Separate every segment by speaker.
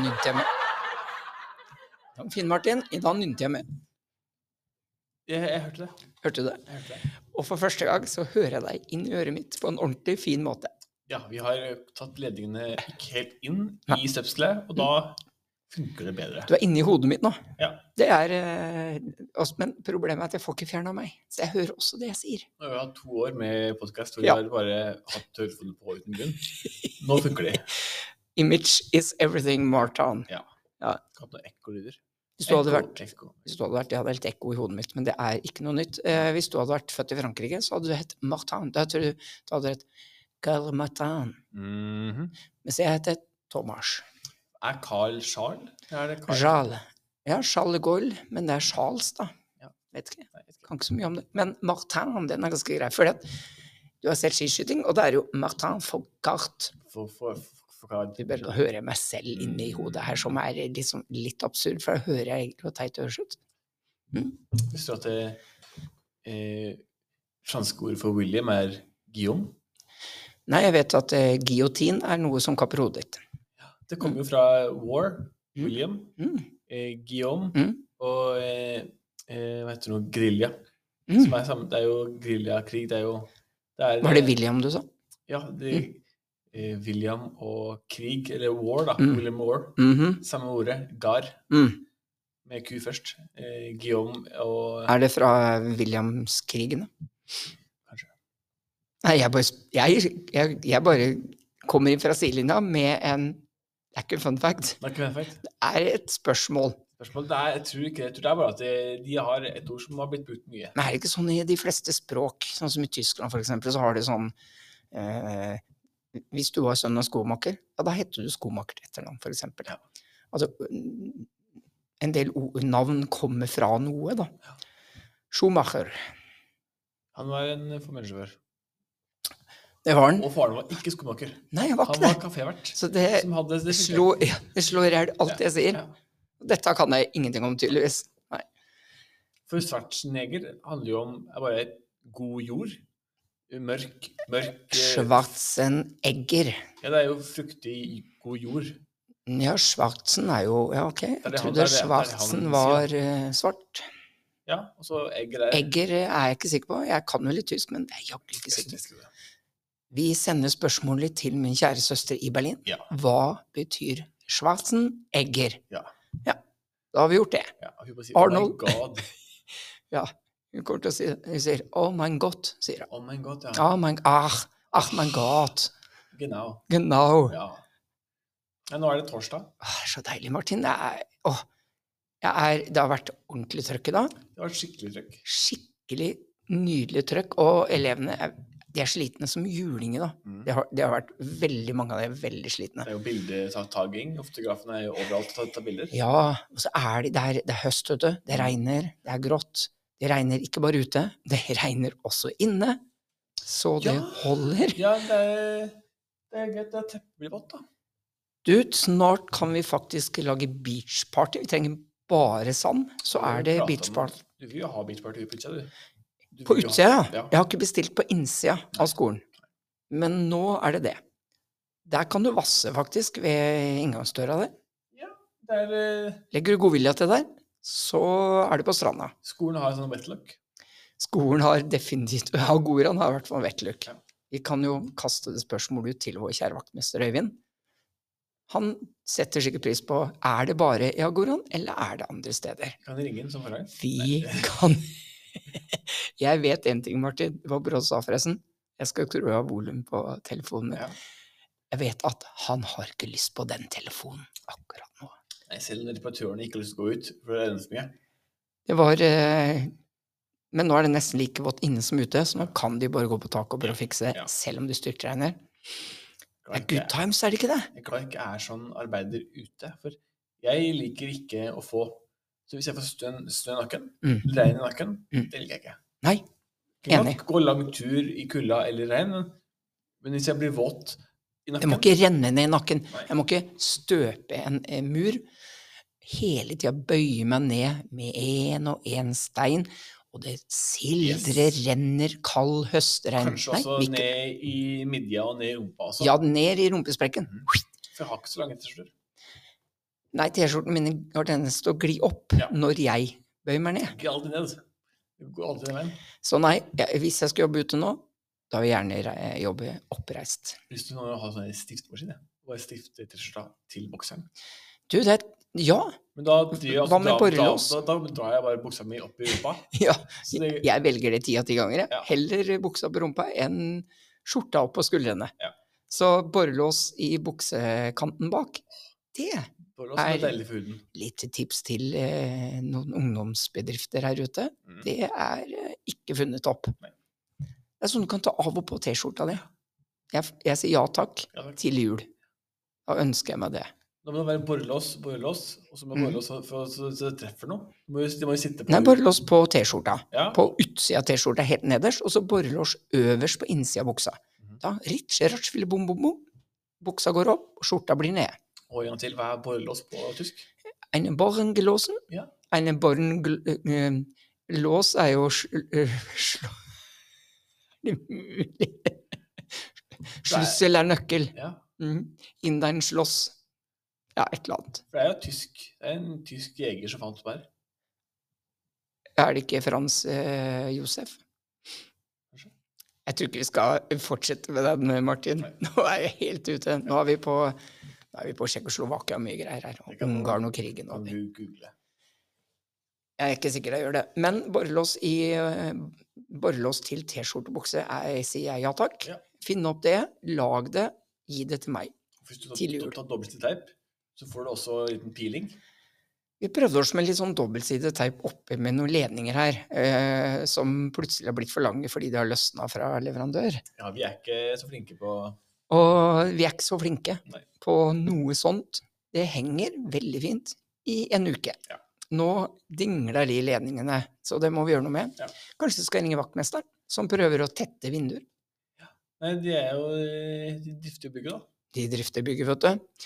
Speaker 1: nynte jeg med. Det var fin, Martin. I dag nynte jeg med.
Speaker 2: Jeg, jeg hørte det.
Speaker 1: Hørte du det?
Speaker 2: Jeg hørte det.
Speaker 1: Og for første gang så hører jeg deg inn i øret mitt på en ordentlig fin måte.
Speaker 2: Ja, vi har eh, tatt ledningene ikke helt inn i støpselet, og da funker det bedre.
Speaker 1: Du er inni hodet mitt nå.
Speaker 2: Ja.
Speaker 1: Det er, eh, også- men problemet er at jeg får ikke fjerna meg. Så jeg hører også det jeg sier.
Speaker 2: Nå har vi hatt to år med podkast hvor
Speaker 1: Ja.
Speaker 2: vi har bare hatt telefonen på uten grunn. Nå funker de.
Speaker 1: Image is everything, Marton.
Speaker 2: Ikke hatt noen ekkolyder.
Speaker 1: Hvis du hadde
Speaker 2: Ekko,
Speaker 1: vært
Speaker 2: ekko.
Speaker 1: hvis du hadde vært, Jeg hadde helt ekko i hodet mitt, men det er ikke noe nytt. Eh, hvis du hadde vært født i Frankrike, så hadde du hett Martin. Da tror du da hadde du hett Carl Martin.
Speaker 2: Mhm.
Speaker 1: Mens jeg heter Thomas.
Speaker 2: Er Carl Charles? Er det Carl?
Speaker 1: Charles. Ja, Charles de Gaulle, men det er Charles, da.
Speaker 2: Ja.
Speaker 1: Vet ikke.
Speaker 2: Nei, jeg vet ikke.
Speaker 1: kan ikke så mye om det. Men Martin, den er ganske grei. For du har sett skiskyting, og det er jo Martin Fourcart.
Speaker 2: For, for, for, for Carl.
Speaker 1: Vi bare hører jeg meg selv inni hodet her, som er liksom litt absurd, for da hører jeg egentlig hvor teit det høres ut.
Speaker 2: Visste du at det eh, franske ordet for William er Guillaume?
Speaker 1: Nei, jeg vet at eh, giotin er noe som kapper hodet ditt.
Speaker 2: Det kommer jo fra War,
Speaker 1: Mm.
Speaker 2: William,
Speaker 1: Mm.
Speaker 2: eh, Guillaume
Speaker 1: Mm.
Speaker 2: og eh, eh, hva heter det nå, Grilja.
Speaker 1: Mm.
Speaker 2: Som er samme, det er jo geriljakrig, det er jo det er,
Speaker 1: Var det Mm. William du sa?
Speaker 2: Ja, det, eh, William og krig, eller war, da.
Speaker 1: Mm.
Speaker 2: William War.
Speaker 1: Mhm.
Speaker 2: Samme ordet, gar,
Speaker 1: mm.
Speaker 2: med Q først. Eh, Guillaume og
Speaker 1: Er det fra Williamskrigene?
Speaker 2: Kanskje.
Speaker 1: Nei, jeg bare, sp- jeg, jeg, jeg bare kommer inn fra sidelinja med en Det er ikke en fun fact.
Speaker 2: Det er ikke perfekt.
Speaker 1: Det er et spørsmål.
Speaker 2: Spørsmålet det er, jeg tror ikke det. Jeg tror det er bare at de, de har et ord som har blitt brukt mye.
Speaker 1: Men er det ikke sånn i de fleste språk, sånn som i Tyskland for eksempel, så har det sånn eh, Hvis du var sønn av skomaker, ja, da heter du skomaker til etternavn, for eksempel.
Speaker 2: Ja.
Speaker 1: Altså, mm, en del ord, navn kommer fra noe, da. Schumacher,
Speaker 2: Han var en formelsjåfør.
Speaker 1: det var han.
Speaker 2: Og faren var ikke skomaker.
Speaker 1: Nei, jeg var
Speaker 2: Han
Speaker 1: ikke
Speaker 2: var
Speaker 1: det.
Speaker 2: kafévert.
Speaker 1: Så det
Speaker 2: Som hadde det funket.
Speaker 1: slår ja, det slår i hjel alt jeg sier.
Speaker 2: Ja.
Speaker 1: Dette kan jeg ingenting om, tydeligvis. Nei.
Speaker 2: For svartsneger handler jo om er bare god jord. Mørk, mørk eh,
Speaker 1: Schwarzenegger.
Speaker 2: Ja, det er jo fruktig, god jord.
Speaker 1: Ja, Schwarzen er jo Ja, ok.
Speaker 2: er
Speaker 1: Jeg
Speaker 2: det han-
Speaker 1: trodde
Speaker 2: det er det- det er det han
Speaker 1: Schwarzen
Speaker 2: sier.
Speaker 1: var eh, svart.
Speaker 2: Ja, og så egger er
Speaker 1: Egger eh, er jeg ikke sikker på. Jeg kan vel litt tysk, men jeg er jaggu ikke sikker.
Speaker 2: østtysk, det.
Speaker 1: Vi sender spørsmålet til min kjære søster i Berlin.
Speaker 2: Ja.
Speaker 1: Hva betyr Schwarzenegger?
Speaker 2: Ja.
Speaker 1: ja. Da har vi gjort det.
Speaker 2: Ja, og hun bare sier, oh my
Speaker 1: Arnold.
Speaker 2: god.
Speaker 1: Hun kommer til å si Hun sier 'Oh my God', sier hun.
Speaker 2: Oh my god, ja.
Speaker 1: Oh my, ach, ach my God.
Speaker 2: Genau.
Speaker 1: Genau.
Speaker 2: Ja. ja. Nå er det torsdag.
Speaker 1: Åh, så deilig, Martin. Det, er, åh, jeg er, det har vært ordentlig trøkk i dag.
Speaker 2: Det var et skikkelig trøkk.
Speaker 1: Skikkelig nydelig trøkk. Og elevene er, de er slitne som julinger, da.
Speaker 2: Mm.
Speaker 1: Det har, det har vært veldig mange av dem er veldig slitne.
Speaker 2: Det er jo bildetaking. Fotografene er jo overalt og tar, tar bilder.
Speaker 1: Ja, og så er de det er- Det er høst, vet du. Det regner, det er grått. Det regner ikke bare ute, det regner også inne. Så det
Speaker 2: Ja.
Speaker 1: holder.
Speaker 2: Ja, det er, det er greit. Det er teppet blir vått, da.
Speaker 1: Du, snart kan vi faktisk lage beachparty. Vi trenger bare sand, så er
Speaker 2: Vi
Speaker 1: det
Speaker 2: prater om-
Speaker 1: beachparty.
Speaker 2: Du vil jo ha beachparty på utsida, du. Du
Speaker 1: På
Speaker 2: vil jo ha-
Speaker 1: utsida, ja.
Speaker 2: Ja.
Speaker 1: Jeg har ikke bestilt på innsida av skolen. Men nå er det det. Der kan du vasse, faktisk, ved inngangsdøra der.
Speaker 2: Det er, eh,
Speaker 1: Legger du godvilja til der, så er du på stranda.
Speaker 2: skolen har en sånn wetlock.
Speaker 1: Skolen har definitivt Ja, Goran har i hvert fall vettløk.
Speaker 2: Ja.
Speaker 1: Vi kan jo kaste det spørsmålet ut til vår kjære vaktmester Øyvind. Han setter sikkert pris på er det bare i Agoran, eller er det andre steder.
Speaker 2: Kan ringe inn som forrige.
Speaker 1: Vi kan Jeg vet én ting, Martin. Det var bra du sa, forresten. Jeg skal tro jeg har volum på telefonen min.
Speaker 2: Ja.
Speaker 1: Jeg vet at han har ikke lyst på den telefonen akkurat nå.
Speaker 2: Nei, selv om reparatørene ikke har lyst til å gå ut, for det er så mye.
Speaker 1: Det var eh, Men nå er det nesten like vått inne som ute, så nå kan de bare gå på taket og prøve å fikse det,
Speaker 2: Ja.
Speaker 1: selv om det styrtregner. Det
Speaker 2: Jeg
Speaker 1: er
Speaker 2: er
Speaker 1: good
Speaker 2: glad ikke-
Speaker 1: times, er det ikke det?
Speaker 2: jeg er glad jeg ikke er sånn arbeider ute, for jeg liker ikke å få Så hvis jeg får stønn, stønn i nakken,
Speaker 1: Mm.
Speaker 2: eller regn i nakken,
Speaker 1: Mm.
Speaker 2: det liker jeg ikke.
Speaker 1: Nei,
Speaker 2: Jeg kan
Speaker 1: Enig.
Speaker 2: nok gå lang tur i kulda eller regn, men, men hvis jeg blir våt i
Speaker 1: det må
Speaker 2: nakken
Speaker 1: ikke renne ned i nakken.
Speaker 2: Nei.
Speaker 1: Jeg må ikke støpe en eh, mur. Hele tida bøye meg ned med én og én stein, og det sildrer,
Speaker 2: Yes.
Speaker 1: renner, kald høstregn.
Speaker 2: Kanskje
Speaker 1: Nei,
Speaker 2: også
Speaker 1: vi ikke-
Speaker 2: ned i sånn- midja og ned i rumpa også.
Speaker 1: Ja, ned i rumpesprekken.
Speaker 2: For jeg har ikke så lange T-skjorter.
Speaker 1: Nei, T-skjorten min har tendens til å gli opp
Speaker 2: Ja.
Speaker 1: når jeg bøyer meg ned.
Speaker 2: Ikke alltid ned. Du går alltid ned veien.
Speaker 1: Så nei, jeg, hvis jeg skal jobbe ute nå, da vil jeg gjerne re- jobbe oppreist.
Speaker 2: Hvis du nå har sånn stiftmaskin, ja. bare stifte T-skjorta til bokseren.
Speaker 1: Du, det er Ja!
Speaker 2: Men da, driver jeg-
Speaker 1: Hva med
Speaker 2: da-
Speaker 1: borrelås?
Speaker 2: Da, da, da drar jeg bare buksa mi opp i rumpa.
Speaker 1: ja.
Speaker 2: Så det,
Speaker 1: Jeg velger det ti av ti ganger. jeg.
Speaker 2: Ja.
Speaker 1: Heller buksa på rumpa enn skjorta opp på skuldrene.
Speaker 2: Ja.
Speaker 1: Så borrelås i buksekanten bak, det er
Speaker 2: borrelås er
Speaker 1: er-
Speaker 2: deilig for huden.
Speaker 1: litt tips til eh, noen ungdomsbedrifter her ute.
Speaker 2: Mm.
Speaker 1: Det er eh, ikke funnet opp.
Speaker 2: Nei.
Speaker 1: Det er sånn du kan ta av og på T-skjorta di. Jeg, jeg sier ja takk
Speaker 2: Ja, takk.
Speaker 1: til jul. Da ønsker jeg meg det.
Speaker 2: Da må det være borrelås, borrelås, og så må
Speaker 1: Mm.
Speaker 2: borrelås for, så, så det treffer noe. Du må, jo- de må jo sitte på
Speaker 1: Nei, borrelås på T-skjorta.
Speaker 2: ja.
Speaker 1: På utsida av T-skjorta helt nederst, og så borrelås øverst på innsida av buksa.
Speaker 2: Mhm.
Speaker 1: Da ritsje, ratsjfille, bom, bom, bom. Buksa går opp, og skjorta blir nede.
Speaker 2: Og en gang til, hva er borrelås på tysk?
Speaker 1: Eine Borrengelosen.
Speaker 2: Ja.
Speaker 1: Eine Borrengelås er jo sl- eh, slå... Er det mulig? Slussel er nøkkel.
Speaker 2: Ja.
Speaker 1: Mm. Indein slåss. Ja, et eller annet.
Speaker 2: For det er jo tysk. Det er en tysk jeger som fant opp her.
Speaker 1: Er det ikke Frans eh, Josef?
Speaker 2: Kanskje.
Speaker 1: Jeg tror ikke vi skal fortsette med den, eh, Martin.
Speaker 2: Nei.
Speaker 1: Nå er jeg helt ute. Nå er vi på, nå er vi på Tsjekkoslovakia og mye greier her.
Speaker 2: Det
Speaker 1: Og
Speaker 2: kan man-
Speaker 1: Ungarn og krigen.
Speaker 2: Kan
Speaker 1: Og
Speaker 2: du google.
Speaker 1: jeg er ikke sikker jeg gjør det. Men borrelås, i, eh, borrelås til T-skjorte og bukse er, sier jeg ja takk.
Speaker 2: Ja.
Speaker 1: Finn opp det, lag det, gi det til meg.
Speaker 2: Hvis du tar,
Speaker 1: Til jul.
Speaker 2: tar, tar dobbeltstilt teip, så får du også en liten peeling.
Speaker 1: Vi prøvde oss med litt sånn dobbeltsidet teip oppi med noen ledninger her, eh, som plutselig har blitt for lange fordi de har løsna fra leverandør.
Speaker 2: Ja, vi er ikke så flinke på
Speaker 1: Og vi er ikke så flinke
Speaker 2: Nei.
Speaker 1: på noe sånt. Det henger veldig fint i en uke.
Speaker 2: Ja.
Speaker 1: Nå dingler de ledningene, så det må vi gjøre noe med.
Speaker 2: Ja.
Speaker 1: Kanskje vi skal ringe vaktmesteren, som prøver å tette vinduer.
Speaker 2: Nei, de er jo eh, De drifter jo bygget, da.
Speaker 1: De drifter bygget, vet du.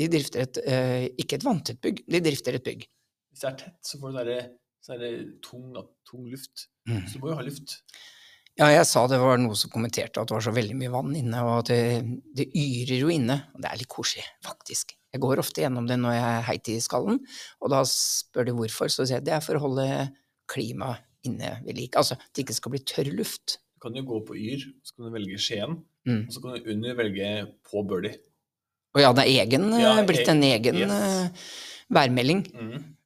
Speaker 1: De drifter et, eh, ikke et vanntett bygg, de drifter et bygg.
Speaker 2: Hvis det er tett, så får du derre så er det tung, tung luft.
Speaker 1: Mm.
Speaker 2: Så du må jo ha luft.
Speaker 1: Ja, jeg sa det var noe som kommenterte at det var så veldig mye vann inne, og at det, det yrer jo inne. Og det er litt koselig, faktisk. Jeg går ofte gjennom det når jeg er heit i skallen, og da spør de hvorfor, så sier jeg det er for å holde klimaet inne ved like. Altså at det ikke skal bli tørr luft.
Speaker 2: Du kan jo gå på Yr, så kan du velge Skien,
Speaker 1: Mm.
Speaker 2: og så kan du under velge på Birdie.
Speaker 1: Og ja, det er egen, eh,
Speaker 2: Ja,
Speaker 1: blitt
Speaker 2: e-
Speaker 1: en egen
Speaker 2: yes.
Speaker 1: eh, værmelding.
Speaker 2: Mm.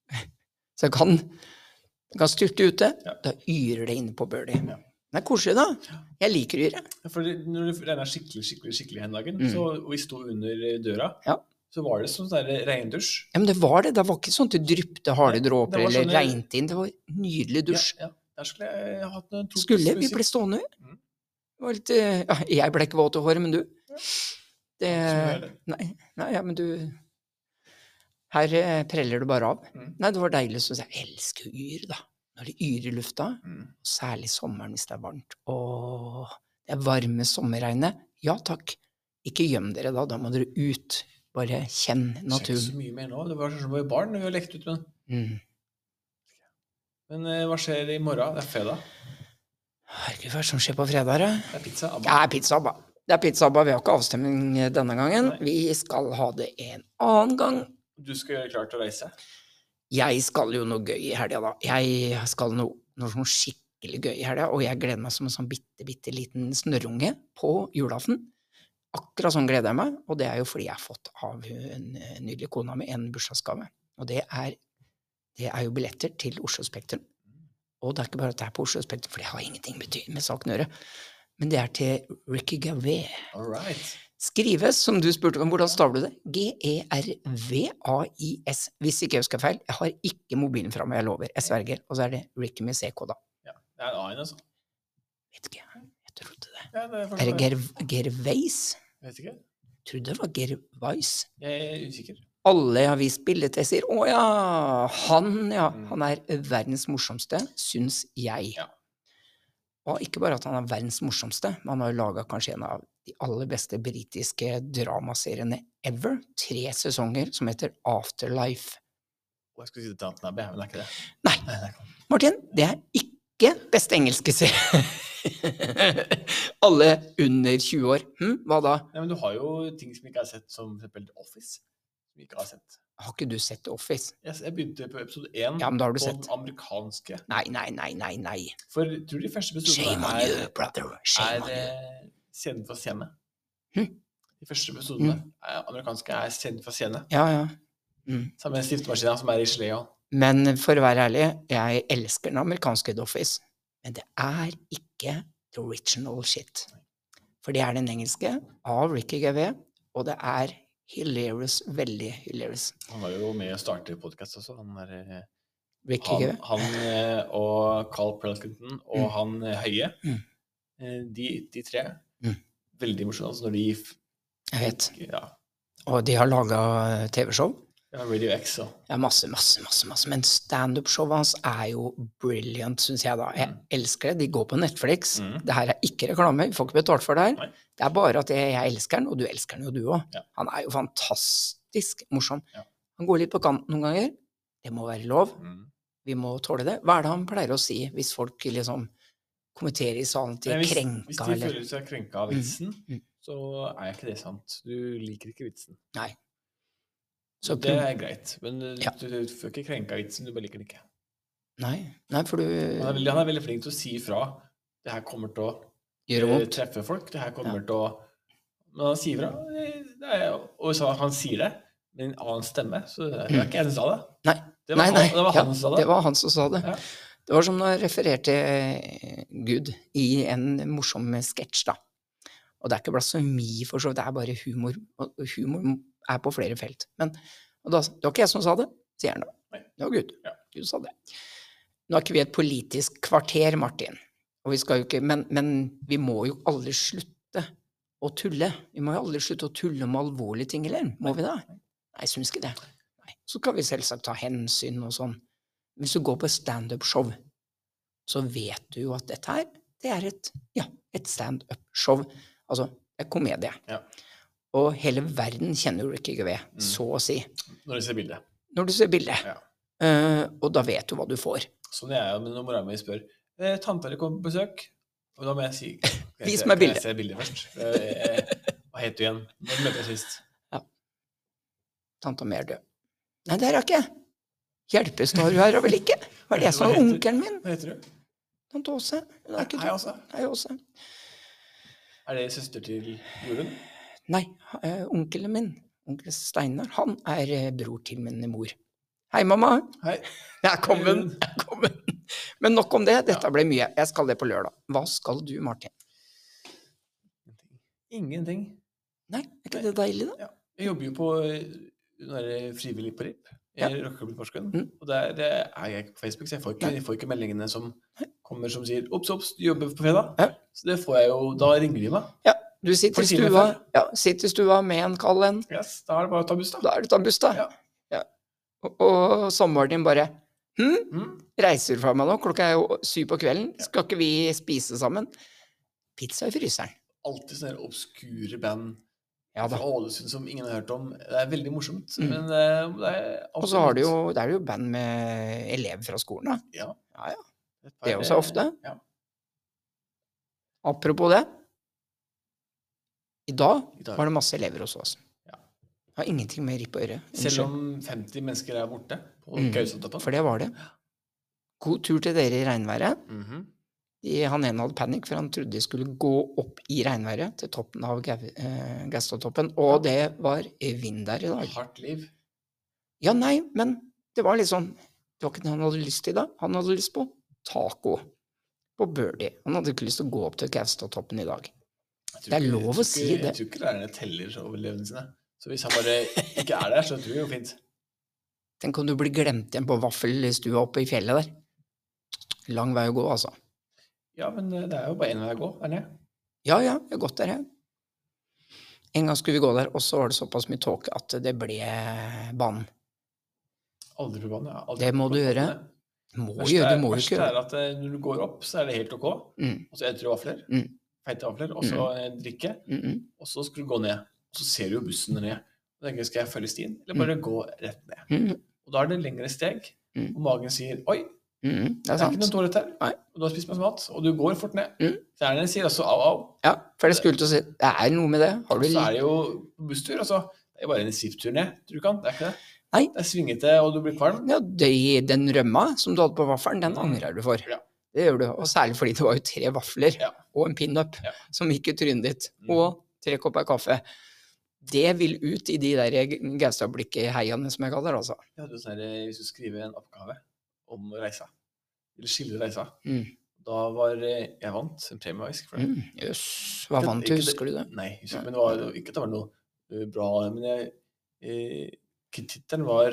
Speaker 1: Så jeg kan, jeg kan styrte ute.
Speaker 2: Ja.
Speaker 1: Da yrer det inne på Birdie.
Speaker 2: Ja.
Speaker 1: Det er koselig, da. Jeg liker yre.
Speaker 2: Ja, For det- når det regna skikkelig skikkelig, skikkelig hen dagen,
Speaker 1: Mm.
Speaker 2: så, og vi sto under eh, døra,
Speaker 1: Ja.
Speaker 2: så var det som sånn der regndusj.
Speaker 1: Ja, men det var det. Det var ikke sånn at det dryppte harde
Speaker 2: Nei,
Speaker 1: dråper
Speaker 2: det var
Speaker 1: eller
Speaker 2: sånne-
Speaker 1: regnet inn. Det var nydelig dusj.
Speaker 2: Ja, ja. Der skulle jeg hatt noen to
Speaker 1: Skulle vi
Speaker 2: musikk.
Speaker 1: bli stående?
Speaker 2: Mm.
Speaker 1: Det var litt, eh, ja, jeg ble ikke våt i håret, men du det,
Speaker 2: Som du gjør.
Speaker 1: nei, nei, ja, men du Her eh, preller du bare av.
Speaker 2: Mm.
Speaker 1: Nei, det var deilig. Så jeg elsker jo yr, da. Når det yrer i lufta,
Speaker 2: Mm.
Speaker 1: og særlig sommeren hvis det er varmt. Åh, det er varme sommerregnet. Ja takk. Ikke gjem dere da, da må dere ut. Bare kjenn
Speaker 2: Skjer ikke
Speaker 1: naturen.
Speaker 2: så mye mer nå. Det var sånn som vi var barn, vi har lekt ut med den.
Speaker 1: Mm.
Speaker 2: Men eh, hva skjer i morgen? Det er fredag.
Speaker 1: Herregud, hva er det som skjer på fredager? eh?
Speaker 2: Det er pizza.
Speaker 1: Det
Speaker 2: Abba.
Speaker 1: er pizzaabba. Det er pizzaabba. Vi har ikke avstemning eh, denne gangen.
Speaker 2: Nei.
Speaker 1: Vi skal ha det en annen gang.
Speaker 2: Du skal gjøre klar til å reise.
Speaker 1: Jeg skal jo noe gøy i helga, da. Jeg skal noe, noe sånn skikkelig gøy i helga, og jeg gleder meg som en sånn bitte, bitte liten snørrunge på julaften. Akkurat sånn gleder jeg meg, og det er jo fordi jeg har fått av hun eh, nydelige kona mi en bursdagsgave. Og det er, det er jo billetter til Oslo Spektrum. Og det er ikke bare at det er på Oslo Spektrum, for det har ingenting bety- med saken å gjøre. Men det er til Ricky Gavet.
Speaker 2: All right.
Speaker 1: Skrives, som du spurte om, hvordan staver du det? E G-e-r-v-a-i-s. Hvis ikke jeg husker feil. Jeg har ikke mobilen fra meg, jeg lover. Jeg sverger. Og så er det Ricky med CK, da.
Speaker 2: Det er en A-en, altså.
Speaker 1: Vet ikke. Jeg trodde det.
Speaker 2: Ja, det
Speaker 1: Er
Speaker 2: er
Speaker 1: det
Speaker 2: forståelig.
Speaker 1: Ger Gervais?
Speaker 2: Vet ikke.
Speaker 1: Trodde det var Gervais.
Speaker 2: Jeg er usikker.
Speaker 1: Alle jeg har vist bilde til, sier 'Å ja, han, ja'. Han er verdens morsomste, syns jeg.
Speaker 2: Mm. Ja.
Speaker 1: Og ikke bare at han er verdens morsomste, men han har jo laga kanskje en av de aller beste britiske dramaseriene ever. Tre sesonger som heter Afterlife.
Speaker 2: Å, Jeg skulle si det til Anton Abbey, men det er ikke det.
Speaker 1: Nei,
Speaker 2: det er ikke
Speaker 1: Martin, det er ikke beste engelske serie. Alle under 20 år. Hm, hva da?
Speaker 2: Nei, men du har jo ting som ikke er sett, som for eksempel The Office. Som vi ikke har sett.
Speaker 1: Har ikke du sett The Office?
Speaker 2: Jeg, jeg begynte på episode én
Speaker 1: Ja, men da har du
Speaker 2: på
Speaker 1: sett.
Speaker 2: den amerikanske.
Speaker 1: Nei, nei, nei, nei. nei.
Speaker 2: For jeg tror de første
Speaker 1: Shame
Speaker 2: episodene
Speaker 1: on you,
Speaker 2: er,
Speaker 1: brother. Shame
Speaker 2: er
Speaker 1: on you.
Speaker 2: eh, Scenen fra scenen.
Speaker 1: Hm.
Speaker 2: De første episodene eh, amerikanske er Scenen fra scenen.
Speaker 1: Ja, ja.
Speaker 2: Sammen med stiftemaskina som er i Slea.
Speaker 1: Men for å være ærlig, jeg elsker den amerikanske The Office. Men det er ikke the original shit. For det er den engelske av Ricky Gavé, og det er hilarious, veldig hilarious.
Speaker 2: Han var jo med å starte podkast også. Han, er, eh,
Speaker 1: Ricky
Speaker 2: han,
Speaker 1: Gavé.
Speaker 2: han eh, og Carl Pelkington og
Speaker 1: Mm.
Speaker 2: han eh, Høie,
Speaker 1: Mm.
Speaker 2: eh, de, de tre,
Speaker 1: Mm.
Speaker 2: veldig morsomme altså, når de f-
Speaker 1: Jeg vet.
Speaker 2: ja,
Speaker 1: Og de har laga TV-show.
Speaker 2: ja, Radio X altså. og
Speaker 1: Ja, masse, masse, masse. masse. Men standup-showet hans er jo brilliant, syns jeg, da. Jeg
Speaker 2: Mm.
Speaker 1: elsker det. De går på Netflix.
Speaker 2: Mm.
Speaker 1: Det her er ikke reklame, vi får ikke betalt for det her.
Speaker 2: Nei.
Speaker 1: Det er bare at jeg, jeg elsker den, og du elsker den jo, du òg.
Speaker 2: Ja.
Speaker 1: Han er jo fantastisk morsom.
Speaker 2: Ja.
Speaker 1: Han går litt på kant noen ganger. Det må være lov.
Speaker 2: mm.
Speaker 1: Vi må tåle det. Hva er det han pleier å si hvis folk liksom kommenterer i salen til
Speaker 2: Nei, hvis, hvis
Speaker 1: krenka
Speaker 2: de
Speaker 1: eller
Speaker 2: føler seg krenka av vitsen,
Speaker 1: Mm.
Speaker 2: så er ikke det sant. Du liker ikke vitsen.
Speaker 1: Så
Speaker 2: det
Speaker 1: pro-
Speaker 2: er greit, men eh,
Speaker 1: Ja.
Speaker 2: du, du får ikke krenka av vitsen, du bare liker den ikke.
Speaker 1: Nei, nei, for du
Speaker 2: Han er, veldig, han er veldig flink til å si ifra. Det her kommer til å
Speaker 1: gjør det
Speaker 2: eh,
Speaker 1: vondt.
Speaker 2: treffe folk. Det her kommer til å Men han sier fra. eh, Det er, jo- og så han sier det med en annen stemme, så det er ikke jeg som sa det.
Speaker 1: Nei.
Speaker 2: Det var,
Speaker 1: Nei, nei.
Speaker 2: Han, det var han
Speaker 1: ja,
Speaker 2: som sa det.
Speaker 1: det var han som sa det.
Speaker 2: Ja.
Speaker 1: Det var som når jeg refererte eh, Gud i en morsom sketsj, da. Og det er ikke blasfemi, for så vidt, det er bare humor. Og humor er på flere felt. Men og da, det var ikke jeg som sa det, sier han da.
Speaker 2: Nei.
Speaker 1: Det var Gud.
Speaker 2: Ja.
Speaker 1: Gud sa det. Nå er ikke vi et politisk kvarter, Martin, og vi skal jo ikke, men, men vi må jo aldri slutte å tulle. Vi må jo aldri slutte å tulle med alvorlige ting, eller? Må vi det? Nei, jeg syns ikke det. Nei. Så kan vi selvsagt ta hensyn og sånn. Hvis du går på standup-show, så vet du jo at dette her, det er et, ja, et standup-show. Altså, det er komedie.
Speaker 2: Ja.
Speaker 1: Og hele verden kjenner jo Ricky Gavé,
Speaker 2: Mm.
Speaker 1: så å si,
Speaker 2: Når jeg ser bildet.
Speaker 1: når du ser bildet.
Speaker 2: Ja.
Speaker 1: Eh, og da vet du hva du får.
Speaker 2: Sånn er jeg jo når mora mi spør eh, Tanta di kommer på besøk. Og da må jeg si kan jeg
Speaker 1: Vis
Speaker 2: se-
Speaker 1: meg
Speaker 2: kan
Speaker 1: bildet.
Speaker 2: Jeg se bildet først. Eh, eh, Hva het du igjen? Når møtte jeg sist?
Speaker 1: Tanta mi er død. Nei, det er hun ikke. Hjelpestad hun er hun vel ikke? Hva er det som
Speaker 2: Hva
Speaker 1: er
Speaker 2: heter-
Speaker 1: onkelen min?
Speaker 2: Hva heter du?
Speaker 1: Tante Åse. Hun er ikke
Speaker 2: Hei,
Speaker 1: død.
Speaker 2: Åse.
Speaker 1: Hei, Åse.
Speaker 2: Er det søster til Jorunn?
Speaker 1: Nei, eh, onkelen min, onkel Steinar, han er eh, bror til min mor. Hei, mamma!
Speaker 2: Hei.
Speaker 1: Jeg er kommet! Jeg er kommet. Men nok om det, dette ble mye. Jeg skal det på lørdag. Hva skal du, Martin?
Speaker 2: Ingenting.
Speaker 1: Nei, er ikke det deilig, da?
Speaker 2: Jeg jobber jo på eh, den der frivillig på RIP, i
Speaker 1: Ja.
Speaker 2: Rockeklubben Porsgrunn.
Speaker 1: Mm.
Speaker 2: Og der eh, er jeg ikke på Facebook, så jeg får ikke, jeg får ikke meldingene som kommer som sier 'obs, obs, du jobber på fredag'.
Speaker 1: Ja.
Speaker 2: Så det får jeg jo Da ringer de meg.
Speaker 1: Du sitter i
Speaker 2: For tiden er
Speaker 1: stua,
Speaker 2: ferdig.
Speaker 1: ja, sitter i stua med en kald en.
Speaker 2: Yes, da er det bare å ta buss, da.
Speaker 1: Da er det ta buss, da.
Speaker 2: Ja.
Speaker 1: Ja. Og, og samboeren din bare Hm,
Speaker 2: Mm.
Speaker 1: reiser du fra meg nå? Klokka er jo syv på kvelden. Skal ikke vi spise sammen? Pizza i fryseren.
Speaker 2: Alltid sånne her obskure band
Speaker 1: Ja da.
Speaker 2: fra Ålesund som ingen har hørt om. Det er veldig morsomt.
Speaker 1: Mm.
Speaker 2: Men eh, det er
Speaker 1: Og så har du jo, det er jo band med elever fra skolen, da.
Speaker 2: Ja.
Speaker 1: Ja, ja.
Speaker 2: Et par-
Speaker 1: Det er også ofte.
Speaker 2: Ja.
Speaker 1: Apropos det. I dag
Speaker 2: I dag.
Speaker 1: var det masse elever hos oss.
Speaker 2: Ja.
Speaker 1: Det har ingenting med ripp å gjøre.
Speaker 2: Selv
Speaker 1: Unnskyld.
Speaker 2: om 50 mennesker er borte på
Speaker 1: Mm.
Speaker 2: Gaustatoppen.
Speaker 1: For det var det. God tur til dere i regnværet.
Speaker 2: Mhm.
Speaker 1: De, han ene hadde panikk, for han trodde de skulle gå opp i regnværet til toppen av Gau- eh, Gaustatoppen. Og det var vind der i dag.
Speaker 2: Hardt liv.
Speaker 1: Ja, nei, men det var litt sånn Det var ikke det han hadde lyst til da. Han hadde lyst på taco. På birdie. Han hadde ikke lyst til å gå opp til Gaustatoppen i dag.
Speaker 2: Jeg tror
Speaker 1: Det er
Speaker 2: ikke- jeg
Speaker 1: lov å
Speaker 2: tror ikke-
Speaker 1: si det.
Speaker 2: Jeg tror ikke lærerne teller over elevene sine. Så hvis han bare ikke er der, så tror jeg det går fint.
Speaker 1: Tenk om du blir glemt igjen på vaffelstua oppe i fjellet der. Lang vei å gå, altså.
Speaker 2: Ja, men eh, det er jo bare én vei å gå. Er det?
Speaker 1: Ja, ja, jeg har gått der, jeg. En gang skulle vi gå der, og så var det såpass mye tåke at det ble banen.
Speaker 2: Aldri på banen. jeg har aldri
Speaker 1: Det må du
Speaker 2: vært på
Speaker 1: gjøre.
Speaker 2: banen, jeg.
Speaker 1: Må
Speaker 2: Verst
Speaker 1: gjøre,
Speaker 2: er-
Speaker 1: du må jo
Speaker 2: verst
Speaker 1: ikke gjøre
Speaker 2: er at eh, når du går opp, så er det helt ok.
Speaker 1: mm,
Speaker 2: Og så eter du vafler.
Speaker 1: Mm.
Speaker 2: Feite vafler. Og så eh, drikke.
Speaker 1: mm, mm.
Speaker 2: Og så skal du gå ned. Og så ser du jo bussen ned. Og tenker, skal jeg følge stien, eller bare gå rett ned?
Speaker 1: Mm,
Speaker 2: Og da er det lengre steg,
Speaker 1: Mm.
Speaker 2: og magen sier 'oi,
Speaker 1: mm, mm, det
Speaker 2: det
Speaker 1: er
Speaker 2: er ikke noen
Speaker 1: sant.
Speaker 2: toalett her',
Speaker 1: Nei.
Speaker 2: og du har spist masse mat, og du går fort ned.
Speaker 1: Mm.
Speaker 2: Læreren sier også 'au, au'.
Speaker 1: Ja, for jeg skulle til å si det er noe med det. Har du
Speaker 2: Og så
Speaker 1: litt
Speaker 2: er det jo på busstur, altså. Det er bare en svipptur ned, tror du ikke han? Det er ikke det?
Speaker 1: Nei.
Speaker 2: Det er svingete, og du blir kvalm.
Speaker 1: Ja, de, den rømma som du hadde på vaffelen, den angrer du for.
Speaker 2: Mm. Ja.
Speaker 1: Det gjør du, og særlig fordi det var jo tre vafler
Speaker 2: Ja.
Speaker 1: og en pinup
Speaker 2: Ja.
Speaker 1: som gikk i trynet ditt,
Speaker 2: Mm.
Speaker 1: og tre kopper kaffe. Det vil ut i de der Gaustablikket-heiene, som jeg kaller det, altså.
Speaker 2: Jeg hadde jo sånn her, Hvis du skriver en oppgave om reisa, eller skildre reisa
Speaker 1: Mm.
Speaker 2: Da var eh, Jeg vant en premie, faktisk. for det.
Speaker 1: Mm, Jøss, hva
Speaker 2: Ikke-
Speaker 1: vant du,
Speaker 2: ikke det-
Speaker 1: husker du det?
Speaker 2: Nei, husker ikke, men det var det var ikke at det var noe eh, bra Men jeg eh, Tittelen var,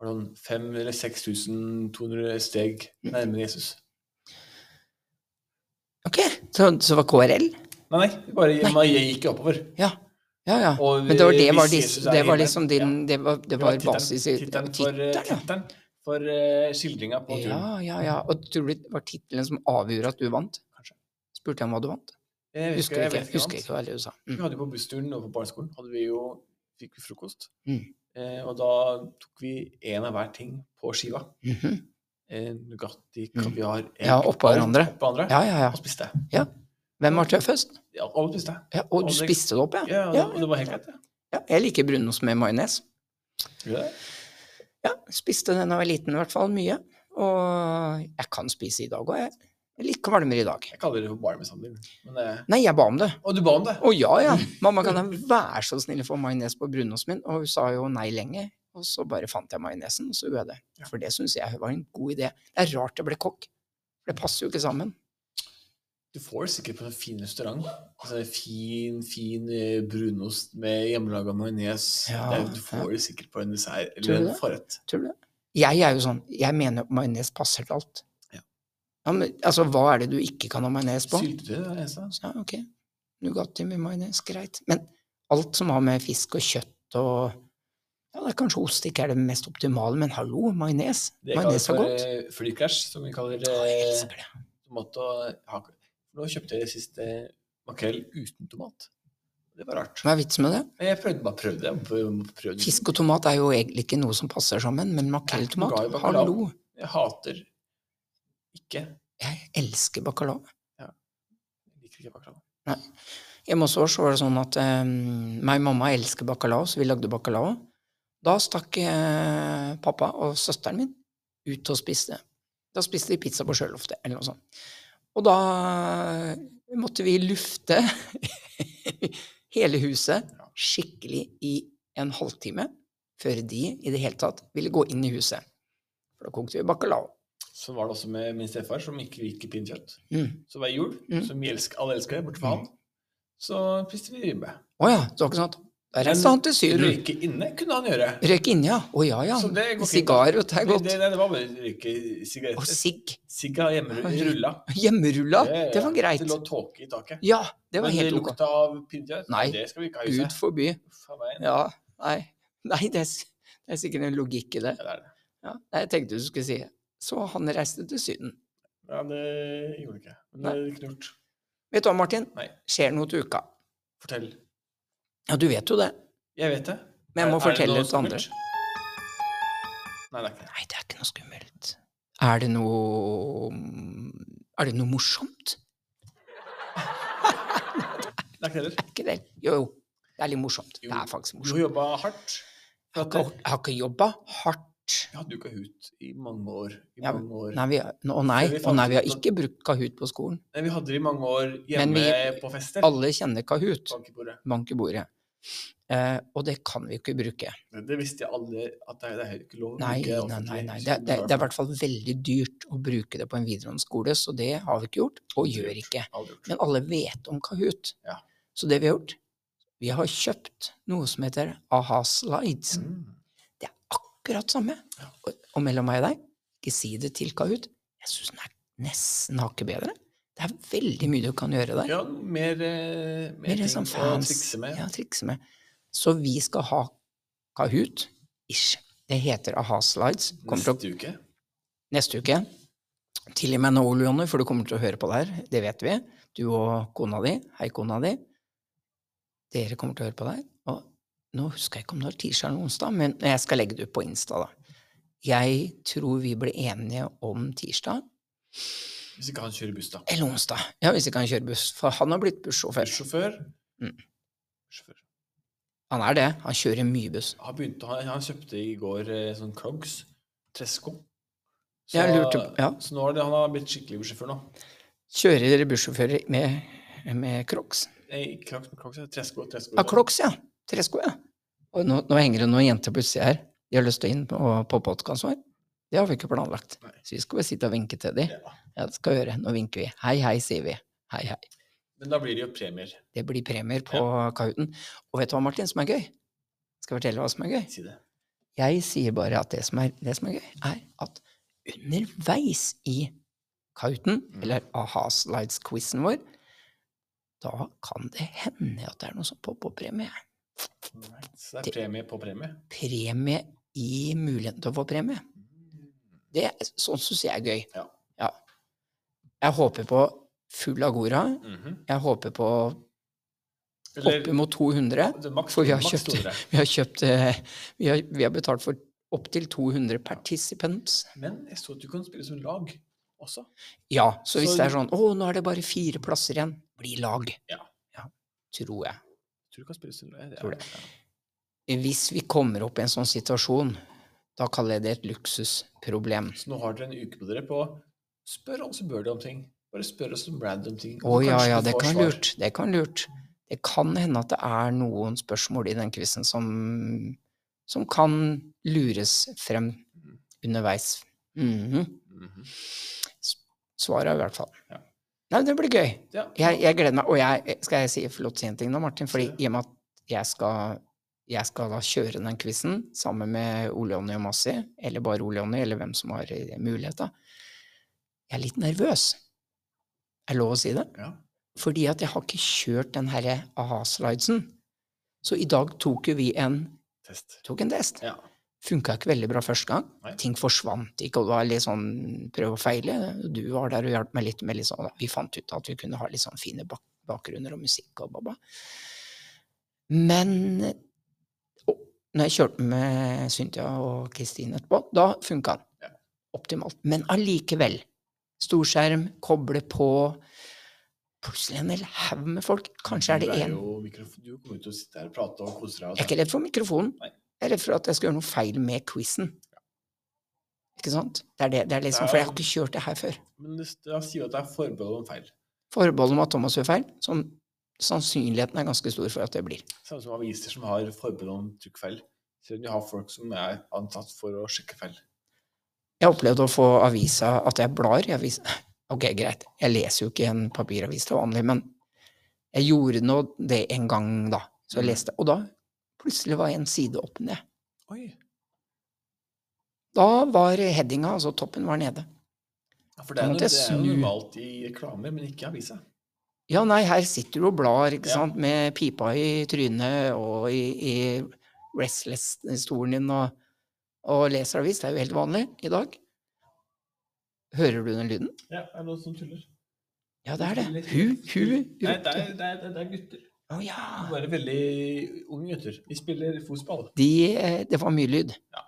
Speaker 2: var noen 5 eller 6200 steg nærmere Jesus.
Speaker 1: Ok, så, så var KRL?
Speaker 2: Nei, nei, bare
Speaker 1: Nei.
Speaker 2: man gikk jo oppover.
Speaker 1: Ja, ja. ja.
Speaker 2: Og
Speaker 1: Men det var,
Speaker 2: vi-
Speaker 1: det
Speaker 2: vi
Speaker 1: var,
Speaker 2: ser
Speaker 1: dis,
Speaker 2: så er
Speaker 1: det var
Speaker 2: himmelen.
Speaker 1: liksom din
Speaker 2: Ja,
Speaker 1: Det var, det
Speaker 2: var
Speaker 1: var
Speaker 2: tittelen.
Speaker 1: basis i
Speaker 2: Tittelen for, eh,
Speaker 1: tittelen, ja.
Speaker 2: tittelen for eh, skildringa på turen.
Speaker 1: Ja, ja, ja. Og tror du det var tittelen som avgjorde at du vant?
Speaker 2: Kanskje.
Speaker 1: Spurte jeg om hva du vant?
Speaker 2: Jeg
Speaker 1: Husker
Speaker 2: jeg
Speaker 1: ikke.
Speaker 2: vet
Speaker 1: Husker
Speaker 2: annet.
Speaker 1: ikke hva du sa.
Speaker 2: Vi
Speaker 1: Mm.
Speaker 2: hadde jo på bussturen og på barneskolen hadde vi jo, fikk vi frokost.
Speaker 1: Mm.
Speaker 2: Eh, og da tok vi én av hver ting på skiva.
Speaker 1: Mhm.
Speaker 2: Eh, Nugatti,
Speaker 1: Mm.
Speaker 2: kaviar egg,
Speaker 1: Ja, oppå
Speaker 2: alt
Speaker 1: hverandre.
Speaker 2: Oppå hverandre.
Speaker 1: Ja, ja, ja.
Speaker 2: Og spiste.
Speaker 1: Hvem var tøffest?
Speaker 2: Ja, alle spiste.
Speaker 1: Ja, og du
Speaker 2: Alle-
Speaker 1: spiste det opp, ja?
Speaker 2: Ja, og det- og det var helt greit.
Speaker 1: ja. Jeg liker brunost med majones.
Speaker 2: Ja. Ja.
Speaker 1: Ja, spiste den da jeg var liten, i hvert fall. Mye. Og jeg kan spise i dag òg, jeg. Jeg er litt kvalmere i dag.
Speaker 2: Jeg kaller det for barmishandling. Men, eh,
Speaker 1: Nei, jeg ba om det.
Speaker 2: og du ba om det.
Speaker 1: Å ja, ja. Mamma, kan jeg være så snill å få majones på brunosten min? Og hun sa jo nei lenge. Og så bare fant jeg majonesen, og så gjorde jeg det.
Speaker 2: Ja.
Speaker 1: For det syns jeg var en god idé. Det er rart jeg ble kokk. For det passer jo ikke sammen.
Speaker 2: Du får det sikkert på en fin restaurant. Altså, en fin, fin eh, brunost med hjemmelaga majones.
Speaker 1: Ja,
Speaker 2: Det er- du
Speaker 1: ja.
Speaker 2: får det sikkert på en dessert
Speaker 1: Tror du
Speaker 2: eller en
Speaker 1: det?
Speaker 2: forrett.
Speaker 1: Tror du det? Jeg er jo sånn Jeg mener at majones passer til alt.
Speaker 2: Ja.
Speaker 1: Ja, men, altså, hva er det du ikke kan ha majones på?
Speaker 2: Syltetøy er det eneste.
Speaker 1: Så, ja, ok. Nugatti med majones, greit. Men alt som har med fisk og kjøtt og ja, det er Kanskje ost ikke er det mest optimale, men hallo, majones.
Speaker 2: Det kalles
Speaker 1: Majones var
Speaker 2: for
Speaker 1: godt.
Speaker 2: eh, flykrasj, som vi kaller
Speaker 1: Å, jeg
Speaker 2: eh,
Speaker 1: elsker det.
Speaker 2: tomat og hake. Nå kjøpte jeg sist eh, makrell uten tomat. Det var rart.
Speaker 1: Hva er vitsen med det?
Speaker 2: Men jeg prøvde bare prøvde. Jeg prøvde, prøvde.
Speaker 1: Fisk og tomat er jo egentlig ikke noe som passer sammen, men makrell
Speaker 2: Jeg er
Speaker 1: i
Speaker 2: ikke noe
Speaker 1: tomat,
Speaker 2: glad i bacalao.
Speaker 1: hallo!
Speaker 2: Jeg hater ikke
Speaker 1: Jeg elsker bacalao.
Speaker 2: jeg liker ikke bacalao.
Speaker 1: Hjemme hos oss så var det sånn at eh, meg og mamma elsker bacalao, så vi lagde bacalao. Da stakk eh, pappa og søsteren min ut og spiste. Da spiste de pizza på sjøloftet, eller noe sånt. Og da eh, måtte vi lufte hele huset skikkelig i en halvtime før de i det hele tatt ville gå inn i huset. For da kokte vi bacalao.
Speaker 2: Så var det også med min stefar, som ikke liker pinnekjøtt.
Speaker 1: Mm.
Speaker 2: Så hver jul,
Speaker 1: Mm.
Speaker 2: som vi elsker, alle elsker, bortsett fra han, så spiste vi ribbe.
Speaker 1: Å ja, det var ikke sant. Da
Speaker 2: Men
Speaker 1: reiste han til Syden.
Speaker 2: Røyke inne kunne han gjøre.
Speaker 1: Røyk inni, ja. Å ja, ja.
Speaker 2: Så det går fint,
Speaker 1: Sigar, vet du, det er
Speaker 2: Det,
Speaker 1: godt.
Speaker 2: det, det var bare røyke
Speaker 1: Og
Speaker 2: sigaretter.
Speaker 1: sigg.
Speaker 2: Sigga hjemme rulla.
Speaker 1: Hjemmerulla, det var greit.
Speaker 2: Det lå tåke i taket.
Speaker 1: Ja, det var
Speaker 2: Men det
Speaker 1: helt ok.
Speaker 2: lukta av pinnekjøtt.
Speaker 1: Nei,
Speaker 2: Det skal vi ikke ha i
Speaker 1: Gud
Speaker 2: huset.
Speaker 1: forby.
Speaker 2: Faen meg. Ja,
Speaker 1: Ja, nei. Nei, det er, s- det er sikkert en logikk i det.
Speaker 2: det er det.
Speaker 1: Ja, nei, jeg tenkte du skulle si Så han reiste til Syden.
Speaker 2: Ja, det gjorde det ikke. Men eh, det
Speaker 1: Nei.
Speaker 2: er ikke gjort.
Speaker 1: Vet du hva, Martin?
Speaker 2: Nei.
Speaker 1: Skjer noe til uka.
Speaker 2: Fortell.
Speaker 1: Ja, du vet jo det.
Speaker 2: Jeg vet det.
Speaker 1: Men jeg må
Speaker 2: Er- er det
Speaker 1: fortelle
Speaker 2: noe
Speaker 1: det til andre.
Speaker 2: skummelt? Nei, det er ikke det.
Speaker 1: Nei, det er ikke noe skummelt. Er det noe Er det noe morsomt?
Speaker 2: Det er ikke det heller.
Speaker 1: Ikke det? Jo, jo. Det er litt morsomt. Det
Speaker 2: Jo.
Speaker 1: er faktisk
Speaker 2: Du
Speaker 1: morsomt.
Speaker 2: har jobba hardt.
Speaker 1: Jeg har ikke, jeg har ikke jobba hardt.
Speaker 2: Jeg hadde jo ikke hut i mange år. I
Speaker 1: Ja,
Speaker 2: mange år.
Speaker 1: Nei, vi, har- å nei,
Speaker 2: Før vi
Speaker 1: å
Speaker 2: fant
Speaker 1: nei, vi har
Speaker 2: ut at-
Speaker 1: ikke brukt Kahoot på skolen.
Speaker 2: Nei, vi hadde det i mange år
Speaker 1: Men
Speaker 2: hjemme
Speaker 1: vi-
Speaker 2: på fester.
Speaker 1: Alle kjenner Kahoot.
Speaker 2: Bankebordet.
Speaker 1: Bank i bordet. Eh, og det kan vi jo ikke bruke.
Speaker 2: Men Det visste jeg alle at det er, det er ikke lov å
Speaker 1: Nei,
Speaker 2: bruke
Speaker 1: nei, nei.
Speaker 2: offentlig
Speaker 1: nei. Det, det, det er i hvert fall veldig dyrt å bruke det på en videregående skole, så det har vi ikke gjort, og gjør ikke.
Speaker 2: Aldri gjort.
Speaker 1: Men alle vet om Kahoot.
Speaker 2: Ja.
Speaker 1: Så det vi har gjort, vi har kjøpt noe som heter A-ha Slides.
Speaker 2: Mm.
Speaker 1: Det er akkurat samme. Og, og mellom meg og deg, ikke si det til Kahoot. Jeg syns den er nesten hakket bedre. Det er veldig mye du kan gjøre der.
Speaker 2: Ja, mer, eh, mer,
Speaker 1: Mer
Speaker 2: ting
Speaker 1: sånn
Speaker 2: å
Speaker 1: fans.
Speaker 2: trikse med.
Speaker 1: Ja, trikse med. Så vi skal ha Kahoot. Ish. Det heter Aha Slides. Kommer til å,
Speaker 2: Neste uke.
Speaker 1: neste uke. Til og med nå, Ole Jonny, for du kommer til å høre på det her. Det vet vi. Du og kona di. Hei, kona di. Dere kommer til å høre på det her. Og nå husker jeg ikke om det var tirsdag eller onsdag, men jeg skal legge det ut på Insta, da. Jeg tror vi ble enige om tirsdag
Speaker 2: Hvis ikke han kjører buss, da.
Speaker 1: eller onsdag. Ja, hvis ikke han kjører buss. For han har blitt bussjåfør.
Speaker 2: Bussjåfør.
Speaker 1: Mm.
Speaker 2: Bussjåfør.
Speaker 1: Han er det. Han kjører mye buss.
Speaker 2: Han, begynte, han, han kjøpte i går eh, sånn Crogs. Tresco. Så,
Speaker 1: Jeg lurte- ja.
Speaker 2: så nå er det, han har blitt skikkelig bussjåfør nå.
Speaker 1: Kjører bussjåfører med, med crocs?
Speaker 2: Nei, ikke Crocs, men Crocs, ja. Tresco. Tresco
Speaker 1: Ja, crocs, ja. Tresko, ja. Og nå, nå henger det noen jenter på utsida her. De har lyst til å inn på, på podkasten vår. Det har vi ikke planlagt.
Speaker 2: Nei.
Speaker 1: Så vi skal bare sitte og vinke til dem.
Speaker 2: Ja.
Speaker 1: Ja, det skal vi gjøre. Nå vinker vi. Hei, hei, sier vi. Hei, hei.
Speaker 2: Men da blir det jo premier.
Speaker 1: Det blir premier på Kahooten. Og vet du hva, Martin, som er gøy? Skal jeg fortelle hva som er gøy?
Speaker 2: Si det.
Speaker 1: Jeg sier bare at det som er, det som er gøy, er at underveis i Kauten,
Speaker 2: Mm.
Speaker 1: eller Aha Slides-quizen vår, da kan det hende at det er noe sånn pop-opp-premie.
Speaker 2: Alright. Så det er premie på premie.
Speaker 1: Premie i muligheten til å få premie. Det er- sånn syns jeg er gøy.
Speaker 2: Ja.
Speaker 1: Jeg håper på full agora.
Speaker 2: Mhm.
Speaker 1: Jeg håper på
Speaker 2: Eller
Speaker 1: oppimot 200.
Speaker 2: det er Altså, maks,
Speaker 1: For vi har
Speaker 2: maks
Speaker 1: kjøpt-
Speaker 2: 200.
Speaker 1: Vi har kjøpt eh, Vi har, vi har betalt for opptil 200 participants.
Speaker 2: Men jeg så at du kan spille som lag også.
Speaker 1: Ja, så hvis
Speaker 2: Så-
Speaker 1: det er sånn 'Å, nå er det bare fire plasser igjen', bli lag.
Speaker 2: Ja.
Speaker 1: Tror jeg.
Speaker 2: Jeg tror du kan spille som lag.
Speaker 1: Tror det.
Speaker 2: Ja.
Speaker 1: Hvis vi kommer opp i en sånn situasjon, da kaller jeg det et luksusproblem.
Speaker 2: Så nå har dere en uke på dere på å spørre oss og bør dere om ting. Bare spørre oss om random ting.
Speaker 1: Å
Speaker 2: og
Speaker 1: ja,
Speaker 2: kanskje
Speaker 1: ja,
Speaker 2: du
Speaker 1: det
Speaker 2: får
Speaker 1: kan
Speaker 2: svar.
Speaker 1: lurt. Det kan lurt. Det kan hende at det er noen spørsmål i den quizen som, som kan lures frem
Speaker 2: Mm.
Speaker 1: underveis. Mhm.
Speaker 2: Mhm.
Speaker 1: Svaret er i hvert fall.
Speaker 2: Ja.
Speaker 1: Nei, det blir gøy.
Speaker 2: Ja.
Speaker 1: Jeg, jeg gleder meg. Og jeg, eh, skal jeg si få lov til å si en ting nå, Martin? Fordi
Speaker 2: Si det.
Speaker 1: i og med at jeg skal, jeg skal da kjøre den quizen sammen med Ole Jonny og Massi, eller bare Ole Jonny, eller hvem som har eh, mulighet, da. Jeg er litt nervøs. Er lov å si det?
Speaker 2: Ja.
Speaker 1: Fordi at jeg har ikke kjørt den herre aha-slidesen. Så i dag tok jo vi en,
Speaker 2: Test.
Speaker 1: tok en test.
Speaker 2: Ja.
Speaker 1: Funka ikke veldig bra første gang.
Speaker 2: Nei.
Speaker 1: Ting forsvant ikke, og det var litt sånn prøv og feile. Du var der og hjalp meg litt med litt sånn Vi fant ut at vi kunne ha litt sånn fine bak bakgrunner og musikk og baba. Men å, når jeg kjørte med Cynthia og Kristin etterpå, da funka den.
Speaker 2: Ja.
Speaker 1: Optimalt. Men allikevel. Storskjerm, koble på. Plutselig en hel haug med folk. Kanskje er det
Speaker 2: Du
Speaker 1: én.
Speaker 2: jo mikrofon- Du kommer jo til å sitte her og prate og kose deg. og sånn.
Speaker 1: Jeg er ikke redd for mikrofonen.
Speaker 2: Nei.
Speaker 1: Jeg er redd for at jeg skal gjøre noe feil med quizen. Ikke sant? Det er det, det er liksom,
Speaker 2: Det er-
Speaker 1: For jeg har ikke kjørt det her før.
Speaker 2: Men det, da sier jo at det er forbehold om feil.
Speaker 1: Forbehold om at Thomas gjør feil, som sannsynligheten er ganske stor for at det blir.
Speaker 2: Samme som aviser som har forbehold om trykkfeil. Selv om de har folk som er antatt for å sjekke feil.
Speaker 1: Jeg har opplevd å få avisa at jeg blar i avisa. Ok, greit, jeg leser jo ikke en papiravis til vanlig, men jeg gjorde nå det en gang, da. Så jeg
Speaker 2: Mhm.
Speaker 1: leste, og da plutselig var en side opp ned.
Speaker 2: Oi.
Speaker 1: Da var headinga, altså toppen, var nede.
Speaker 2: Ja, for det
Speaker 1: Da
Speaker 2: er,
Speaker 1: måtte
Speaker 2: no, det
Speaker 1: jeg
Speaker 2: er jo
Speaker 1: snu.
Speaker 2: normalt i reklamer, men ikke i aviser.
Speaker 1: Ja, nei, her sitter du og blar, ikke
Speaker 2: Ja.
Speaker 1: sant, med pipa i trynet og i, i Restless-stolen din og, og leser avis. Det er jo helt vanlig i dag. Hører du den lyden?
Speaker 2: Ja, det er noen som tuller.
Speaker 1: Ja, det er det.
Speaker 2: Litt-
Speaker 1: Hu, hu,
Speaker 2: Nei, det
Speaker 1: ropte.
Speaker 2: er, det, er, det er gutter.
Speaker 1: Å ja.
Speaker 2: Bare veldig unge gutter. De spiller fotball.
Speaker 1: De, eh, det var mye lyd.
Speaker 2: Ja.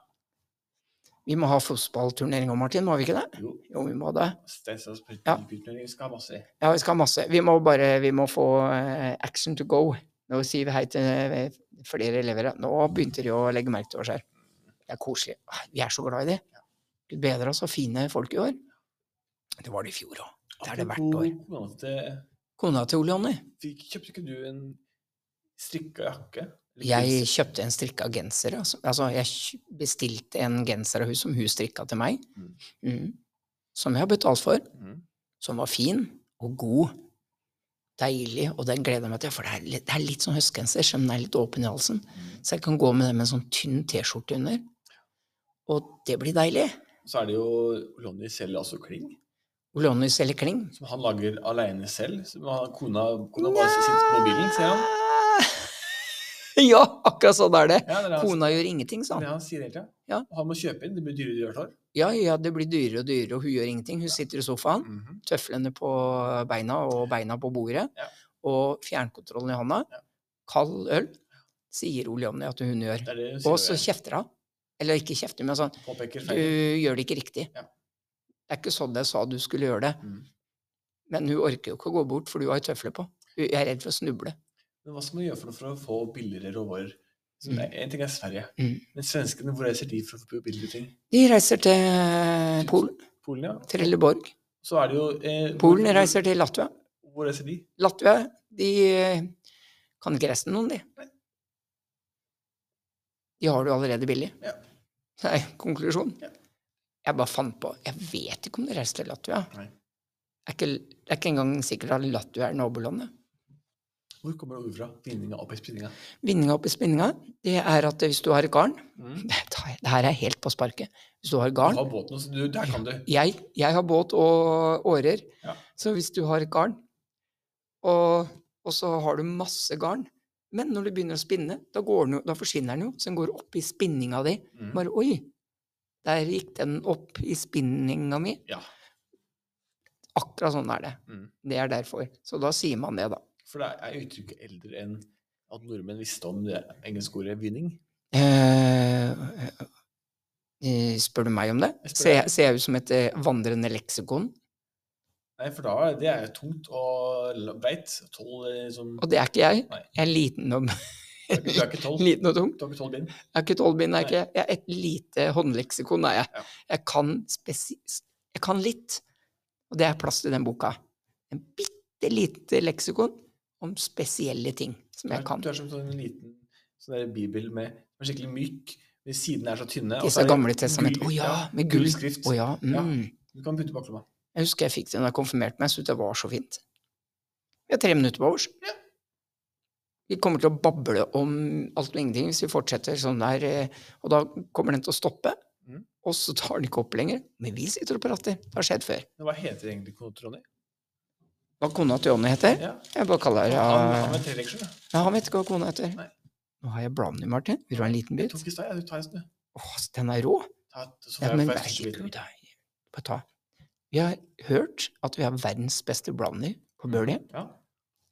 Speaker 1: Vi må ha fotballturnering òg, Martin, må vi ikke det?
Speaker 2: Jo,
Speaker 1: Jo, vi må det.
Speaker 2: Steinsdals
Speaker 1: Ja.
Speaker 2: byturnering skal ha masse.
Speaker 1: Ja, vi skal ha masse. Vi må bare vi må få eh, action to go. Nå sier vi hei til eh, flere elever. Nå begynte de å legge merke til oss her. Det er koselig. Ah, Vi er så glad i det. Gud bedre oss, så fine folk i år. Det var det i fjor òg. Det er det hvert år.
Speaker 2: Apropos koronatid,
Speaker 1: Kona til Ole Jonny.
Speaker 2: fikk- Kjøpte ikke du en strikka jakke? Eller
Speaker 1: Jeg
Speaker 2: pris?
Speaker 1: kjøpte en strikka genser. Altså, altså jeg kj- bestilte en genser av hun som hun strikka til meg.
Speaker 2: Mm.
Speaker 1: Mm. Som jeg har betalt for.
Speaker 2: Mhm.
Speaker 1: som var fin og god. Deilig, og den gleder jeg meg til, for det er litt, det er litt sånn høstgenser, selv om den er litt åpen i halsen.
Speaker 2: Mhm.
Speaker 1: Så jeg kan gå med den med en sånn tynn T-skjorte under. Og det blir deilig.
Speaker 2: Så er det jo Lonny selv også Kling,
Speaker 1: Olonny selger kling.
Speaker 2: som han lager aleine selv. Som han, kona, kona bare sitter på mobilen, sier han.
Speaker 1: Ja, akkurat sånn er det.
Speaker 2: Ja, altså. det er det han,
Speaker 1: Kona gjør ingenting,
Speaker 2: det
Speaker 1: sa
Speaker 2: er
Speaker 1: han.
Speaker 2: det han sier hele tida.
Speaker 1: Ja.
Speaker 2: Og han må kjøpe inn, det blir dyrere hvert år.
Speaker 1: Ja, ja, det blir dyrere og dyrere, og hun gjør ingenting. Hun sitter i sofaen,
Speaker 2: Mhm.
Speaker 1: tøflene på beina og beina på bordet,
Speaker 2: Ja.
Speaker 1: og fjernkontrollen i hånda.
Speaker 2: Ja.
Speaker 1: Kald øl, sier Olonny at hun gjør.
Speaker 2: Det er det hun
Speaker 1: Og så
Speaker 2: sier. og jeg
Speaker 1: kjefter han. Eller ikke kjefter, men sånn
Speaker 2: Påpeker
Speaker 1: Du
Speaker 2: feil.
Speaker 1: gjør det ikke riktig.
Speaker 2: Ja.
Speaker 1: Det er ikke sånn jeg sa du skulle gjøre det.
Speaker 2: Mhm.
Speaker 1: Men hun orker jo ikke å gå bort, for du har jo tøfler på. Hun- Jeg er redd for å snuble.
Speaker 2: Men hva skal man gjøre for, noe for å få billigere råvarer? Så det er- En ting er Sverige.
Speaker 1: Mm.
Speaker 2: Men svenskene, hvor reiser de for å forbilde ting?
Speaker 1: De reiser til Polen,
Speaker 2: Polen, ja.
Speaker 1: Trelleborg.
Speaker 2: Så er det jo eh,
Speaker 1: Polen
Speaker 2: hvor-
Speaker 1: reiser til Latvia.
Speaker 2: Hvor reiser de?
Speaker 1: Latvia, de eh, kan ikke resten noen, de. De har det jo allerede billig.
Speaker 2: Ja.
Speaker 1: Det er konklusjonen.
Speaker 2: Ja.
Speaker 1: Jeg bare fant på Jeg vet ikke om de reiser til Latvia.
Speaker 2: Nei.
Speaker 1: Det er ikke, det er ikke engang sikkert at Latvia er nabolandet.
Speaker 2: Hvor kommer det ord fra? Vinninga opp i spinninga.
Speaker 1: Vindinga opp i spinninga, det er at hvis du har et garn
Speaker 2: Mm.
Speaker 1: Det tar- det her er helt på sparket. Hvis du har
Speaker 2: Du
Speaker 1: garn
Speaker 2: har båten, så du, der kan du.
Speaker 1: jeg, jeg har båt og årer,
Speaker 2: Ja.
Speaker 1: så hvis du har et garn, og, og så har du masse garn, men når du begynner å spinne, da, går den jo, da forsvinner den jo, så den går opp i spinninga di.
Speaker 2: Mm.
Speaker 1: Bare oi, der gikk den opp i spinninga mi.
Speaker 2: Ja.
Speaker 1: Akkurat sånn er det.
Speaker 2: Mm.
Speaker 1: Det er derfor. Så da sier man det, da.
Speaker 2: For det er uttrykket eldre enn at nordmenn visste om det engelske ordet vinning.
Speaker 1: Eh, eh, spør du meg om det?
Speaker 2: Jeg spør
Speaker 1: Ser
Speaker 2: deg.
Speaker 1: jeg, ser jeg ut som et eh, vandrende leksikon?
Speaker 2: Nei, for da er det er jo tungt og la- breit. Tolv eh, som
Speaker 1: Og det er ikke jeg.
Speaker 2: Nei.
Speaker 1: Jeg er liten og,
Speaker 2: Du er ikke- du er ikke tolv. Du
Speaker 1: liten og tung.
Speaker 2: har ikke tolv bind.
Speaker 1: Jeg er ikke tolvbind, jeg er
Speaker 2: Nei.
Speaker 1: ikke jeg er et lite håndleksikon. Er jeg.
Speaker 2: Ja.
Speaker 1: Jeg, kan spesi jeg kan litt, og det er plass til den boka. En bitte lite leksikon om spesielle ting som jeg kan.
Speaker 2: Du er som sånn en liten sånn der bibel med, med skikkelig myk, men sidene er så tynne. og så
Speaker 1: Disse
Speaker 2: er det
Speaker 1: gamle testament.
Speaker 2: gull-
Speaker 1: Å ja,
Speaker 2: ja,
Speaker 1: med
Speaker 2: gull
Speaker 1: gull.
Speaker 2: skrift.
Speaker 1: Å ja, mm.
Speaker 2: Du kan putte baklomma.
Speaker 1: Jeg husker jeg fikk det da jeg konfirmerte meg, jeg syntes det var så fint. Vi har tre minutter på overs.
Speaker 2: Ja.
Speaker 1: Vi kommer til å bable om alt og ingenting hvis vi fortsetter sånn der, eh, og da kommer den til å stoppe.
Speaker 2: Mhm.
Speaker 1: Og så tar den ikke opp lenger. Men vi sitter og prater. Det har skjedd før.
Speaker 2: Men Hva heter egentlig kona til Ronny?
Speaker 1: Hva kona til Jonny heter?
Speaker 2: Ja.
Speaker 1: Jeg bare kaller
Speaker 2: Han, han
Speaker 1: henne
Speaker 2: med treleksjon, ja.
Speaker 1: Nei, Han vet ikke hva kona heter.
Speaker 2: Nei.
Speaker 1: Nå har jeg bladene, Martin. Vil du ha en liten
Speaker 2: Jeg
Speaker 1: bit?
Speaker 2: tok i stad, jeg. Du tar en stund.
Speaker 1: Åh, den er rå!
Speaker 2: Ta et- så får
Speaker 1: Ja,
Speaker 2: jeg-
Speaker 1: men
Speaker 2: får jeg største biten.
Speaker 1: herregud, det er- Bare ta. Vi har hørt at vi har verdens beste blonder på Bøhli.
Speaker 2: Ja.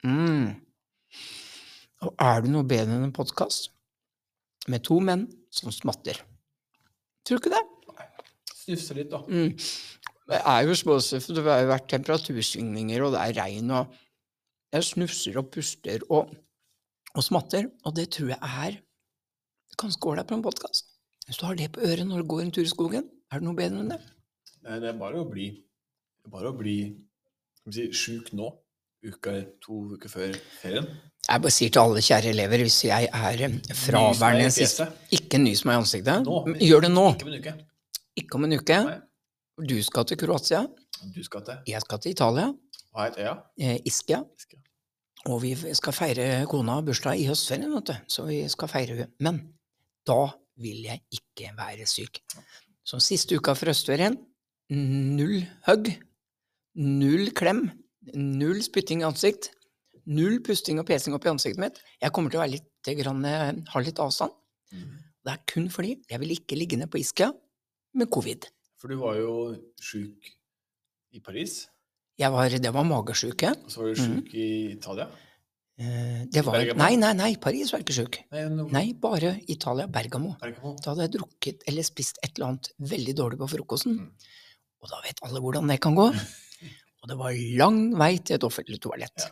Speaker 1: Mm. Og er det noe bedre enn en podkast med to menn som smatter? Tror du ikke det?
Speaker 2: Snufse litt, da.
Speaker 1: Mm. Det er jo småsøffet, det har jo vært temperatursvingninger, og det er regn, og jeg snufser og puster og, og smatter, og det tror jeg er ganske ålreit på en podkast. Hvis du har det på øret når du går en tur i skogen, er det noe bedre enn det?
Speaker 2: Nei, det er bare å bli det er Bare å bli skal vi si, sjuk nå. Uka, to uker før ferien.
Speaker 1: Jeg bare sier til alle kjære elever, hvis jeg er eh,
Speaker 2: Nys
Speaker 1: fraværende
Speaker 2: meg i
Speaker 1: sist
Speaker 2: fjeset.
Speaker 1: Ikke nys meg i ansiktet.
Speaker 2: Nå.
Speaker 1: men Gjør det nå,
Speaker 2: Ikke om en uke.
Speaker 1: ikke om en uke.
Speaker 2: Nei.
Speaker 1: Du skal til Kroatia,
Speaker 2: Du skal til
Speaker 1: jeg skal til Italia,
Speaker 2: Ha et øya.
Speaker 1: eh, Ischia.
Speaker 2: Ischia.
Speaker 1: Og vi skal feire kona har bursdag i høstferien, vet du. Så vi skal feire hun. Men da vil jeg ikke være syk. Så siste uka for høstferien, null hugg, null klem, null spytting i ansikt, null pusting og pesing opp i ansiktet mitt. Jeg kommer til å være litt grann, eh, ha litt avstand. Det er kun fordi jeg vil ikke ligge ned på Ischia med covid.
Speaker 2: For du var jo sjuk i Paris,
Speaker 1: Jeg var, det var magesjuke.
Speaker 2: og så var du
Speaker 1: Mhm.
Speaker 2: sjuk i Italia.
Speaker 1: Eh, Det var,
Speaker 2: Bergamo?
Speaker 1: nei, nei, nei, Paris var ikke sjuk.
Speaker 2: Nei, nå-
Speaker 1: Nei, bare Italia, Bergamo.
Speaker 2: Bergamo.
Speaker 1: Da hadde jeg drukket eller spist et eller annet veldig dårlig på frokosten.
Speaker 2: Mm.
Speaker 1: Og da vet alle hvordan det kan gå. Og det var lang vei til et offentlig toalett.
Speaker 2: Ja.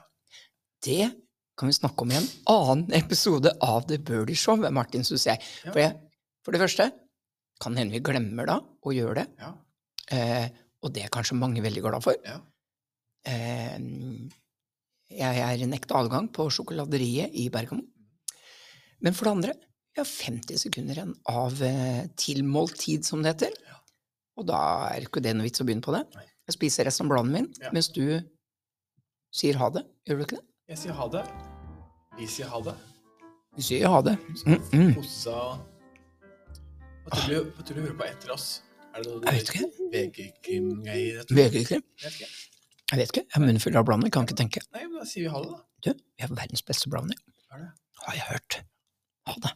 Speaker 1: Det kan vi snakke om i en annen episode av The Burley Show, Martin, syns jeg.
Speaker 2: Ja.
Speaker 1: For, jeg. for det første kan hende vi glemmer da å gjøre det,
Speaker 2: Ja.
Speaker 1: eh, og det er kanskje mange veldig glad for.
Speaker 2: Ja.
Speaker 1: Eh, jeg er nekta adgang på sjokoladeriet i Bergamo. Men for det andre, vi har 50 sekunder igjen av eh, tilmålt tid, som det heter. Og da er ikke det noe vits å begynne på det.
Speaker 2: Nei.
Speaker 1: Jeg spiser resten av bladet min,
Speaker 2: Ja.
Speaker 1: mens du sier ha det. Gjør du ikke det?
Speaker 2: Jeg sier ha det. Vi sier ha det.
Speaker 1: Du sier ha det.
Speaker 2: Så
Speaker 1: Mm -mm.
Speaker 2: Kossa Hva tror du- hva tror du hører på etter oss? Er det noe
Speaker 1: Jeg vet ikke.
Speaker 2: VG-krim-greier? Jeg
Speaker 1: VG-krim?
Speaker 2: vet ikke.
Speaker 1: Jeg vet ikke. Jeg er munnfull av blanding, kan ikke tenke.
Speaker 2: Nei, men da sier vi ha det, da.
Speaker 1: Du, vi har verdens beste blanding.
Speaker 2: Hva er det?
Speaker 1: Har jeg hørt. Ha det.